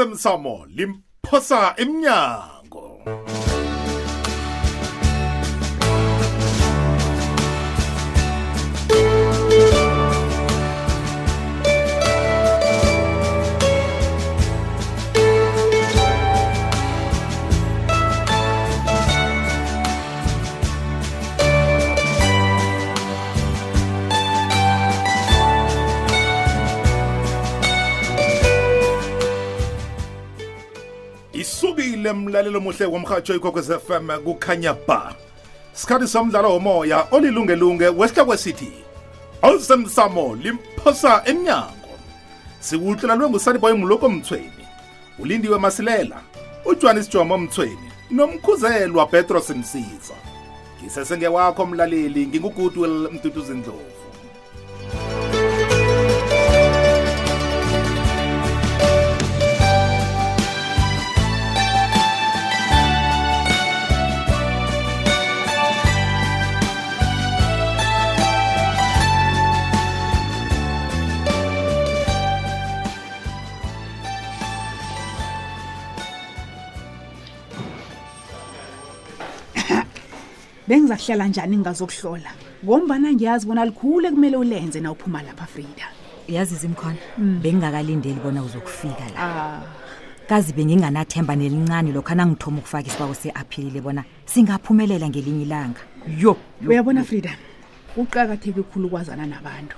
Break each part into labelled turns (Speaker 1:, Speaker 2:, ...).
Speaker 1: awusemsamo limphosa emnyango isukile mlalelo muhle womhatsho ikhokwez fm kukhanya ba sikhathi somdlalo womoya olilungelunge wesihloko sithi awusemsamo limphosa emnyango sikuhlelelwe ngusaniboy muloko mthweni ulindiwe masilela ujohanis jomo mthweni nomkhuzelwa petros msiza ngisesengewakho mlaleli ngingugudwel mduduzindlovu
Speaker 2: bengizakuhlala njani ngingazokuhlola ngombana ngiyazi bona likhulu ekumele ulenze na uphuma lapha frida
Speaker 3: yazi zimkhona bengingakalindeli bona uzokufika la
Speaker 2: ah
Speaker 3: kazi benginganathemba nelincane lokho anangithoma ukufaka isibawo se-aphilile bona singaphumelela ngelinye ilanga yo yo.
Speaker 2: uyabona frida kuqakatheke khulu ukwazana nabantu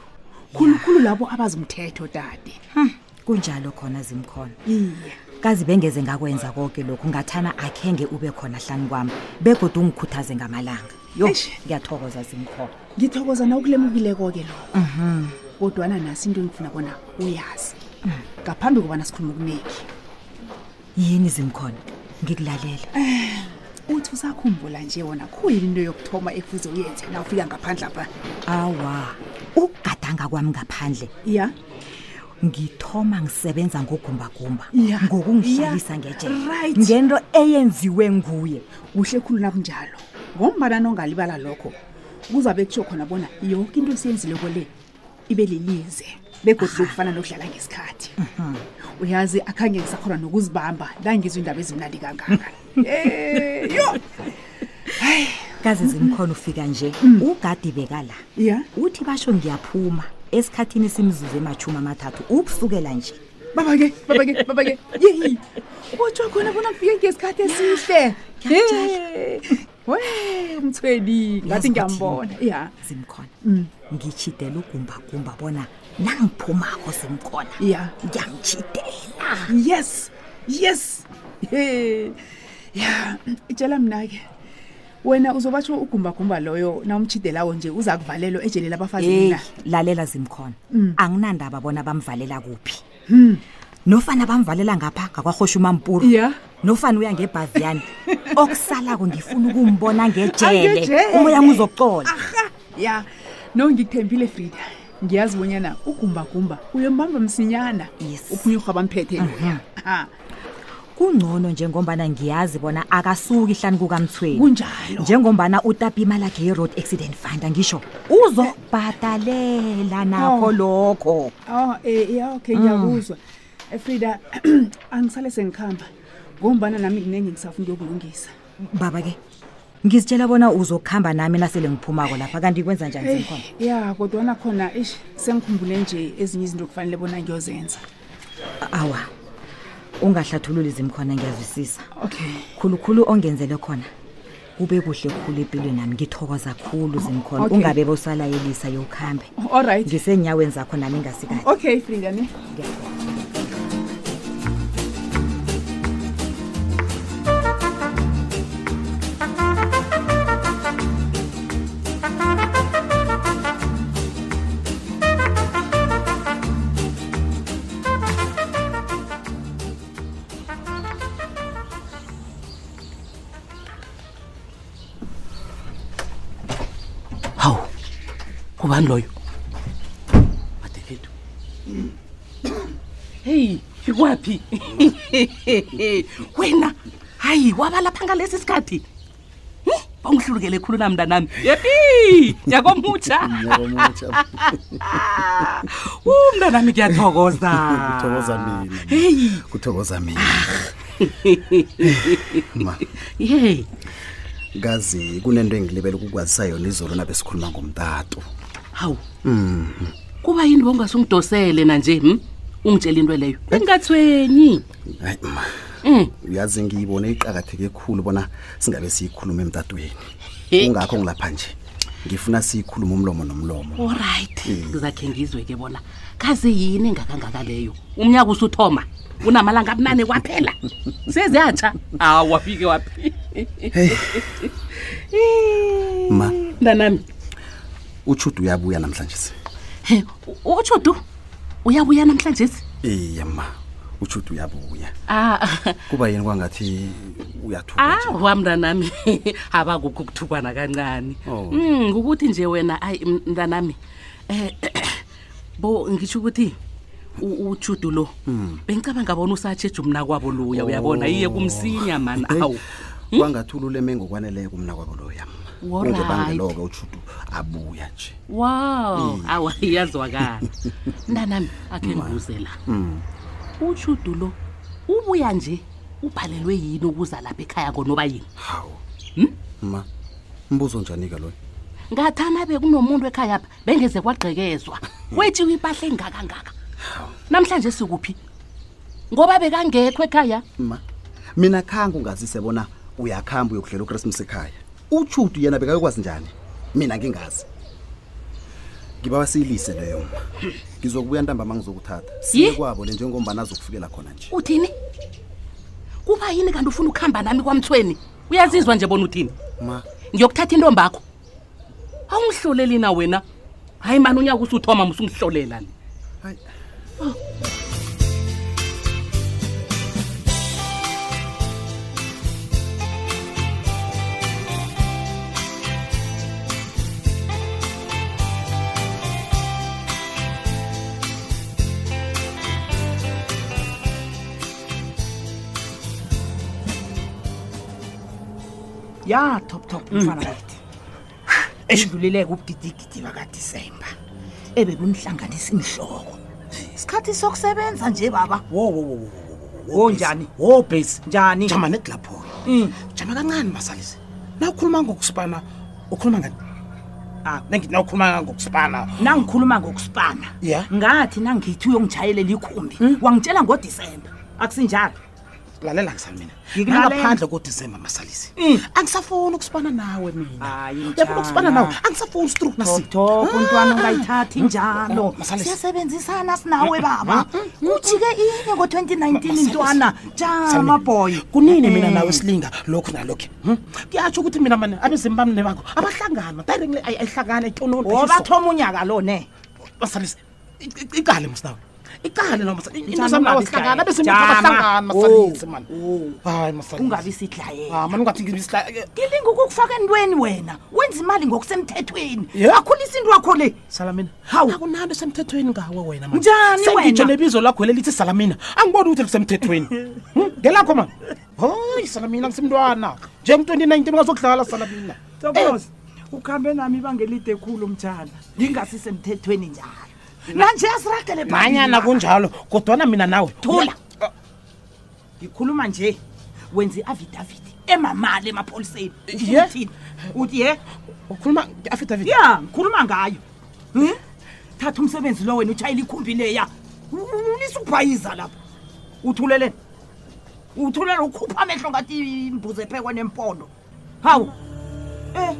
Speaker 2: khulukhulu labo abazimthetho dade
Speaker 3: Hmm, kunjalo khona zimkhona
Speaker 2: iye
Speaker 3: kazi bengeze ngakwenza konke lokhu ngathana akhenge ube khona hlani kwami begodwa ungikhuthaze ngamalanga yo
Speaker 2: Eish.
Speaker 3: ngiyathokoza zimkhona
Speaker 2: ngithokoza na ukulemukileko-ke lokho kodwana nasi into engifuna bona uyazi ngaphambi kobana sikhuluma okuneki
Speaker 3: yini zimkhona ngikulalela
Speaker 2: uthi usakhumbula nje wona khuyini into yokuthoma ekufuze uyenze na ufika ngaphandle apha
Speaker 3: awa ukugadanga kwami ngaphandle
Speaker 2: ya
Speaker 3: ngithoma ngisebenza ngogumbagumba
Speaker 2: Ya.
Speaker 3: ngokungihlalisa
Speaker 2: Ya.
Speaker 3: ngeje
Speaker 2: Right.
Speaker 3: ngento eyenziwe nguye
Speaker 2: kuhle khulu nakunjalo ngombana nongalibala lokho kuzabe kutsho khona bona yonke into esiyenzileko le ibe lilize begodile ukufana nokudlala ngesikhathi uyazi akhange ngisakhona nokuzibamba ndangizwa iindaba ezimnandi kangaka Eh, yo
Speaker 3: kaze
Speaker 2: Mm-hmm.
Speaker 3: zimkhona ufika nje
Speaker 2: Mm.
Speaker 3: ugadi beka la
Speaker 2: ya
Speaker 3: uthi basho ngiyaphuma esikhathini esimzuzu emashumi amathathu ubusukela nje
Speaker 2: baba-ke baba-ke baba-ke yeyi kutsho khona bona kufike ngesikhathi esihle Eh, we mthweni ngathi
Speaker 3: Yazi ukuthi
Speaker 2: ngiyambona ya
Speaker 3: zimkhona
Speaker 2: Mm.
Speaker 3: ngitshidela ugumbagumba bona nangiphumako zimkhona
Speaker 2: ya
Speaker 3: ngiyamtshidela
Speaker 2: yes yes Hey. ya tshela mna-ke wena uzobatsho ugumbagumba loyo nawumtshidelawo nje uza kuvalelwa ejele labafazi
Speaker 3: eyi
Speaker 2: na
Speaker 3: lalela zimkhona
Speaker 2: Mm.
Speaker 3: anginandaba bona bamvalela kuphi
Speaker 2: Hmm.
Speaker 3: nofana bamvalela ngapha ngakwarhosha umampuru
Speaker 2: ya
Speaker 3: nofana uya ngebhaviyani okusalako ngifuna ukumbona ngejele
Speaker 2: Angejele.
Speaker 3: umoya wami uzocola
Speaker 2: aha ya no ngikuthembile frida ngiyazi bonyana ugumbagumba uyombamba msinyana
Speaker 3: Yes.
Speaker 2: uphunye urhwaba mphethe loya Ha,
Speaker 3: kungcono njengombana ngiyazi bona akasuki hlani kukamthweni
Speaker 2: kunjalo
Speaker 3: njengombana utapa imali akhe ye-road accident funda ngisho uzokubhadalela nakho
Speaker 2: Oh.
Speaker 3: lokho
Speaker 2: Oh, eh, ya okay ngiyakuzwa Eh, frida angisale sengikhamba ngombana nami kunenge ngisafuna ukuyokulungisa
Speaker 3: baba-ke ngizitshela bona uzokuhamba nami nasele ngiphumako lapha kanti kwenza njani
Speaker 2: Eh,
Speaker 3: zimkhona
Speaker 2: ya kodwana khona ish sengikhumbule nje ezinye izinto kufanele bona ngiyozenza
Speaker 3: awa ungahlathululi zimkhona ngiyazwisisa
Speaker 2: okay
Speaker 3: khulukhulu ongenzele khona kube kuhle khulu empilweni nami ngithokoza khulu zimkhona
Speaker 2: Okay.
Speaker 3: ungabe bosalayelisa yokhambe
Speaker 2: all right
Speaker 3: ngisenyaweni zakho nami ngasikade
Speaker 2: okay frida ne
Speaker 4: hawu kubani loyo madefethu heyi ikwaphi wena hayi waba lapha ngalesi sikhathi Hi? bangihlulukele Hmm, khulu na mntanami yepi yakomutsha
Speaker 5: ngiyakomutsha
Speaker 4: u mntanami kuyathokoza
Speaker 5: kuthokoza mina
Speaker 4: heyi
Speaker 5: kuthokoza mina ma
Speaker 4: yeyi
Speaker 5: kazi kunento engilibele ukukwazisa yona izolo nabesikhuluma ngomtato Mm-hmm.
Speaker 4: hawu kuba yini bongasungidosele na nje hm ungitshela into leyo engathwenyi
Speaker 5: hayi ma
Speaker 4: um
Speaker 5: uyazi ngiyibone iqakatheke khulu bona singabe siyikhuluma emtatweni
Speaker 4: He.
Speaker 5: kungakho ngilapha nje ngifuna siyikhulume umlomo nomlomo
Speaker 4: olright ngizakhe ngizwe ke bona kaze yini engakangaka leyo umnyaka usuthoma unamalanga abunane kwaphela seziyatsha hawu wafike waphi
Speaker 5: heyi ma
Speaker 4: mntanami
Speaker 5: utshudu uyabuya namhlanje
Speaker 4: he utshudu uyabuya namhlanje
Speaker 5: iye ma utshudu uyabuya
Speaker 4: ah
Speaker 5: kuba yini kwangathi uyathuka nje.
Speaker 4: awa mntanami abakukho ukuthukwana kancane
Speaker 5: Oh.
Speaker 4: Mm, ukuthi nje wena ayi m- mntanami um bo ngitsho ukuthi u- utshudu lo bengicabanga bona usatsheje umna kwabo luya uyabona iye kumsinya mani
Speaker 5: Hey,
Speaker 4: awu
Speaker 5: kwangathi ululeme ngokwaneleyo kumna kwabo loya ma
Speaker 4: Alright.
Speaker 5: kungebangelo-ke utshudu abuya nje
Speaker 4: wow awa iyazwakala mntanami akhe ngibuzela utshudu lo ubuya nje ubhalelwe yini ukuza lapha ekhaya konoba yini
Speaker 5: hawu Hmm? ma mbuzo njani-ke loyo
Speaker 4: ngathana bekunomuntu ekhaya pha bengeze kwagqekezwa kwetshiwe impahla engakangaka namhlanje sikuphi ngoba bekangekho ekhaya
Speaker 5: ma mina khange ungazise bona uyakhamba uyokudlela ukrisimus ekhaya utshudu yena bekayokwazi njani mina ngingazi ngiba wasiyilise leyo ma ngizokubuya ntambama ngizokuthatha siye
Speaker 4: Yi.
Speaker 5: kwabo le njengombana azokufikela khona nje
Speaker 4: uthini kuba yini kanti ufuna ukuhamba nami kwamthweni uyazizwa nje bona uthini
Speaker 5: ma
Speaker 4: ngiyokuthatha intombakho awungihloleli na wena hayi mani unyaka usuthoma musungihlolela ni
Speaker 5: hayi
Speaker 2: ya top top mfana wethu edlulileke ubugidigidi bakadisemba ebebunihlanganisa inhloko
Speaker 6: isikhathi sokusebenza nje baba
Speaker 2: wo njani
Speaker 6: wo bhesi
Speaker 2: njani
Speaker 6: jama nekulapho-ke jama kancane masalisi na ukhuluma ngokusipana ukhuluma ngani
Speaker 2: Ah.
Speaker 6: Nangithi na ukhuluma ngokusipana
Speaker 2: nangikhuluma ngokusipana
Speaker 6: Yeah.
Speaker 2: ngathi nangithi uyongitshayelela ikhumbi wangitshela ngodisemba akusinjalo
Speaker 6: lalela ngisani mina
Speaker 2: Ngikulalela.
Speaker 6: nangaphandle kodisemba masalisi angisafuni ukusipana nawe mina
Speaker 2: Hmm. Hayi,
Speaker 6: yabona
Speaker 2: mtshana.
Speaker 6: ukusipana nawe angisafuni ustruk
Speaker 2: toko untwana ungayithathi
Speaker 6: Hmm?
Speaker 2: njalo
Speaker 6: masalisi
Speaker 7: siyasebenzisana sinawe baba kujike inye ngo-2019 intwana jama boy Eh,
Speaker 6: kunini mina nawe silinga lokhu nalokhu kuyatsho ukuthi mina mane abezimu bami nebakho abahlangana directly ayi- ayihlangana itononi
Speaker 7: obathoma unyaka lo ne
Speaker 6: masalisi i- i- icale msnawe icale lo masa- into
Speaker 7: Njani
Speaker 6: zami
Speaker 7: ungabi
Speaker 6: abahlangana
Speaker 7: sihlaya?
Speaker 6: beseabahlangana
Speaker 7: Jama. Oh,
Speaker 6: masalisi mani hayi masalisi
Speaker 7: ungabi sidlayela
Speaker 6: Ah, mani ungathi ngibislaya
Speaker 7: ngilinga ukukufaka entweni wena wenza imali ngokusemthethweni
Speaker 6: Yeah.
Speaker 7: akhulisa into yakho le
Speaker 6: salamina
Speaker 7: Hawu.
Speaker 6: akunanto esemthethweni ngawe wena mani.
Speaker 7: Njani
Speaker 6: Sengitsho
Speaker 7: wena?
Speaker 6: nebizo lakho lelithi salamina angiboni ukuthi lisemthethweni Hmm, ngelakho mani hoyi salamina ngisemntwana njengo-2019 ngazokudlala salamina
Speaker 2: Eh.
Speaker 7: tokoza ukuhambe nami ibanga elide khulu mtshana ngingasisemthethweni njalo nanje asiragele
Speaker 6: nanyana kunjalo kodwana mina nawe
Speaker 7: Thula. ngikhuluma nje wenza i-avidavidi emamali emapholiseni
Speaker 6: Ye.
Speaker 7: uthini uthi ye
Speaker 6: ukhuluma nge-affidavit
Speaker 7: ya ngikhuluma ngayo Hmm? thatha umsebenzi lo wena utshayela ikhumbi leya ulisa ukubhayiza lapha uthuleleni uthulela ukhupha amehlo ngathi imbuzi ephekwe nempondo hawu um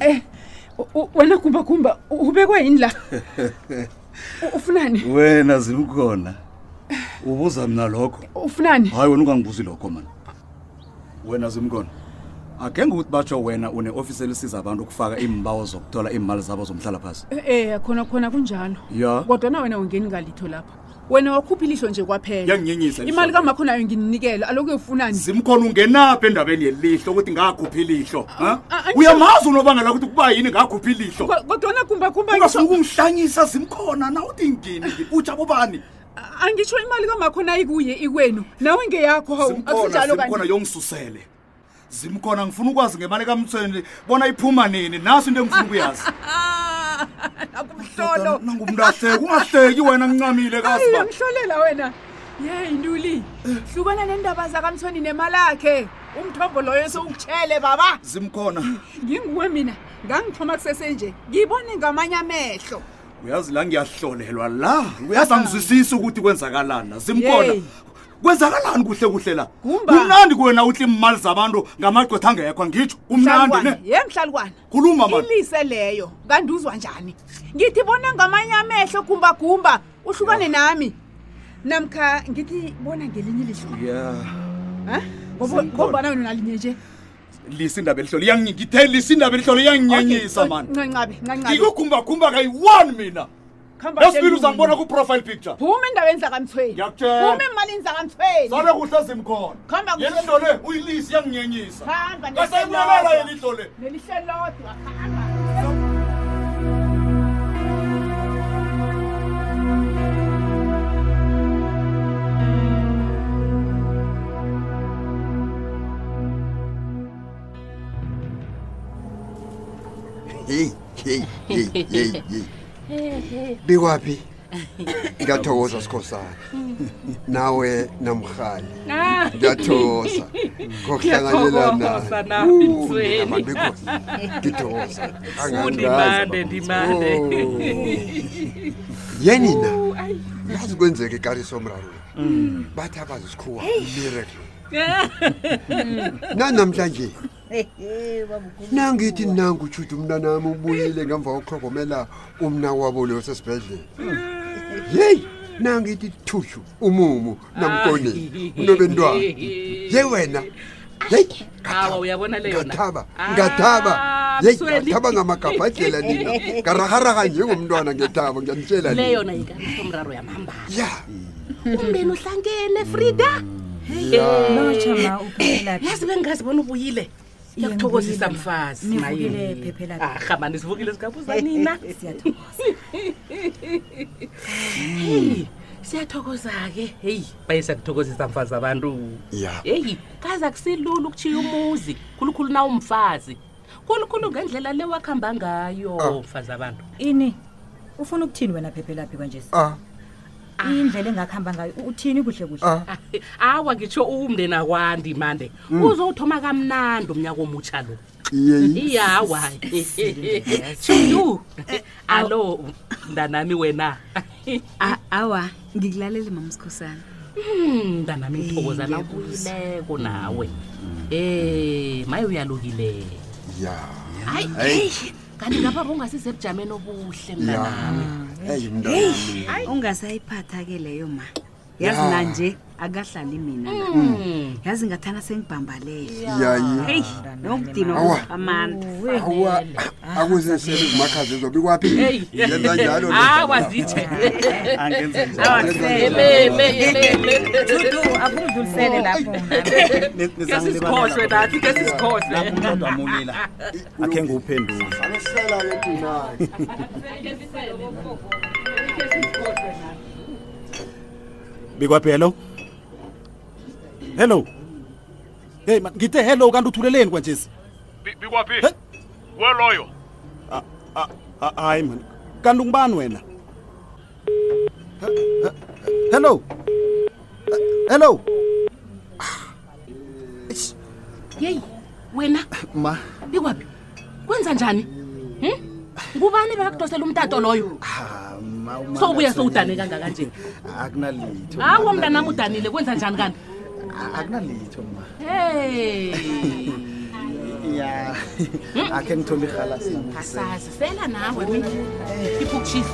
Speaker 2: eh u- u- wena kumbakumba u- ubekwe yini la U- ufunani
Speaker 8: wena zilukhona ubuza mina lokho
Speaker 2: ufunani
Speaker 8: hayi wena ungangibuzi lokho mani wena zimkhona akhe ngukuthi batsho wena une-ofisi elisiza abantu ukufaka iimbawo zokuthola iimali zabo zomhlala phasi
Speaker 2: eh khona khona kunjalo
Speaker 8: ya
Speaker 2: kodwa na wena ungeni ngalitho lapha wena wakhupha ilihlo nje kwaphela
Speaker 8: Yanginyenyisa ilihlo.
Speaker 2: imali kamakho nayo ngininikela alokho ufunani
Speaker 8: zimkhona ungenaphi endabeni yelihlo ukuthi ngakhuphi ilihlo ha?
Speaker 2: a- angisho-
Speaker 8: uyamazi unobangela ukuthi kuba yini ngakhuphi ilihlo
Speaker 2: kodwana kumbakhumba
Speaker 8: ungasuke ungihlanyisa zimkhona na uthi ngini ngini, utsha bobani
Speaker 2: angitsho imali kamakho nayo ikuye ikwenu nawe ngeyakho hawu
Speaker 8: zimkhona
Speaker 2: asinjalo
Speaker 8: zimkhona
Speaker 2: kanje
Speaker 8: yongisusele zimkhona ngifuna ukwazi ngemali kamthweni bona iphuma nini naso into engifuna ukuyazi
Speaker 2: Ah, nakumhlolo
Speaker 8: nangumntu ahleki ungahleki wena ncamile kasiba
Speaker 2: mhlolela wena ye intuli hlubana nendaba zakamthweni nemalakhe umthombo loyo sewukutshele baba
Speaker 8: zimkhona
Speaker 2: nginguwe mina ngangithoma kusesenje ngibone ngamanye amehlo
Speaker 8: uyazi la ngiyahlolelwa la uyazi angizwisisi ukuthi kwenzakalani na zimkhona
Speaker 2: Ah. Yey.
Speaker 8: kwenzakalani kuhle kuhle la
Speaker 2: Kumba.
Speaker 8: kumnandi kuwena uthi imali zabantu ngamagqwetha angekho ngitsho umnandi
Speaker 2: mhlalukwana
Speaker 8: ne
Speaker 2: ye mhlalukwana
Speaker 8: Khuluma man.
Speaker 2: ilise leyo kanti uzwa njani ngithi bona ngamanye amehlo gumbagumba uhlukane nami namkha ngithi bona ngelinye ilihlo
Speaker 8: ya
Speaker 2: ha? Ngoba-
Speaker 8: Zikhona.
Speaker 2: ngombana wena unalinye nje
Speaker 8: lisa indaba elihlolo iyangi- ngithe lisa indaba elihlolo iyanginyenyisa mani
Speaker 2: ncancabe ncancabe
Speaker 8: ngikugumbagumba kayi-one mina esibili uzangibona ku-profile picture
Speaker 2: phuma endaweni zakamthweni
Speaker 8: Ngiyakutjela.
Speaker 2: phuma emalini zakamthweni
Speaker 8: sale kuhle zimkhona
Speaker 2: Khamba kuhle.
Speaker 8: yelihlo le uyilisi iyanginyenyisa
Speaker 2: Khamba,
Speaker 8: ngasayibuyelela
Speaker 2: ngiyakulaza.
Speaker 8: yelihlo le
Speaker 2: nelihle lodwa khamba
Speaker 9: heyi heyi heyi heyi heyi bikwaphi ngiyathokoza sikhosana nawe namhali
Speaker 4: Ah,
Speaker 9: ngiyathoza ngokuhlanganyela
Speaker 4: Ngiyathokoza
Speaker 9: nawe.
Speaker 4: nami,
Speaker 9: Wuu,
Speaker 4: Mzweni.
Speaker 9: ndaba ngikho- ngithokoza
Speaker 4: Undimande,
Speaker 9: Angangazi.
Speaker 4: ndimande.
Speaker 9: Oh. yenina yazi kwenzeka ekarisomraro bathi abazi sikhuwa miracle nanamhlanje nangithi nangutshuda umntanami ubuyile ngemva kokuhlogomela umna wabo leyo sesibhedlela yeyi nangithi thushu umumu namkoneni unobentwana ye wena yeyi
Speaker 4: Awa, uyabona le yona.
Speaker 9: ngathaba
Speaker 4: Ah,
Speaker 9: ngathaba yeyi
Speaker 4: Msweni.
Speaker 9: ngathaba ngamagabha adlela nina ngaraharaha njengomntwana ngethaba ngiyanitshela
Speaker 4: le
Speaker 9: nina
Speaker 4: yona ikamraro yamhambana
Speaker 9: ya
Speaker 4: umbeni uhlangene frida
Speaker 7: eh.
Speaker 3: lotshama uphelaphi
Speaker 4: yazi bengazi bona ubuyile yakuthokozisa mfazi
Speaker 3: Nivukile, Phephelaphi.
Speaker 4: ahamba nisivukile sikabuzanina
Speaker 3: siyathokoza
Speaker 4: heyi siyathokoza-ke heyi baye siyakuthokozisa mfazi abantu
Speaker 9: ya
Speaker 4: heyi kaze akusilula ukutshiya umuzi khulukhulu na umfazi khulukhulu ngendlela le wakuhamba ngayo mfazi abantu
Speaker 3: ini ufuna ukuthini wena phephelaphi kanje
Speaker 9: ah
Speaker 3: indlela engakuhamba ngayo u- uthini kuhle kuhle
Speaker 9: ah
Speaker 4: awa ngitsho umndeni akwandi mande uzowuthoma kamnandi umnyaka omutsha lo
Speaker 9: yeyi
Speaker 4: iyawa chuyu alo mntanami wena
Speaker 10: awa ngikulaleli mama sikhosana
Speaker 4: Hmm, mntanami ngithokoza nakuyileko nawe um maye uyalukile
Speaker 9: ya
Speaker 4: hayi eyi, kanti ngapha bongasisebujameni obuhle mntanami
Speaker 9: ya eyi mntanami
Speaker 10: ungasayiphatha ke leyo ma yazi
Speaker 9: Ya.
Speaker 10: nanje akahlali mina la. yazi ngathana sengibhambalele
Speaker 9: yayi
Speaker 10: Hmm. heyi nokudinwa
Speaker 9: Awa.
Speaker 10: amandla
Speaker 9: awa ah, akuzesele kumakhazi ezobikwaphi
Speaker 4: Ah. Hey. Ah,
Speaker 9: yenza njalo lo
Speaker 4: awa
Speaker 9: mntwana.
Speaker 4: zithe
Speaker 3: Dudu, akungidlulisele lapho
Speaker 4: kezisikhohlwe nathi kezisikhohlwe
Speaker 8: amunye la akhe ngiwuphendule
Speaker 9: Alisela-ke Dina.
Speaker 6: bikwaphi hello hello heyi ngithe hello kanti uthuleleni kwanjesi
Speaker 11: bikwaphi
Speaker 6: He?
Speaker 11: we loyo
Speaker 6: hayi mani kanti ungubani wena He- he- hello He- hello
Speaker 4: yeyi wena
Speaker 5: ma
Speaker 4: bikwaphi kwenza njani Hmm? ngubani bekakudosela umtato loyo sowubuya sowudane kangakanje
Speaker 5: akunalitho
Speaker 4: hawo mntanam udanile kwenza njani kanti
Speaker 5: akunalitho ma
Speaker 4: hey
Speaker 5: ya akhe ngithole ihalasi
Speaker 4: asazi sela nawe mina khipha ukutshisa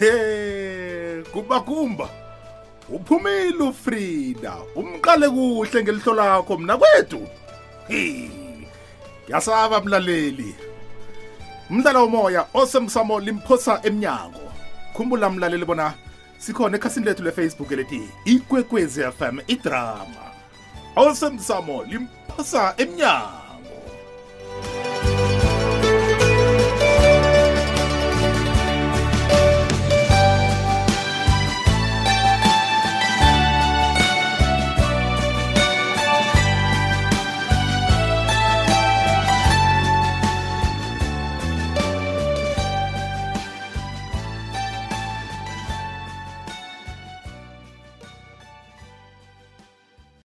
Speaker 8: he kubakumba uphumile ufrida umqale kuhle ngelihlo lakho mna kwethu hi yasaba mlaleli umdlalo womoya osemsamo limphosa emnyango khumbula mlaleli bona sikhona ekhasini lethu lefacebook elithi ikwekwezi fm idrama osemsamo limphosa emnyango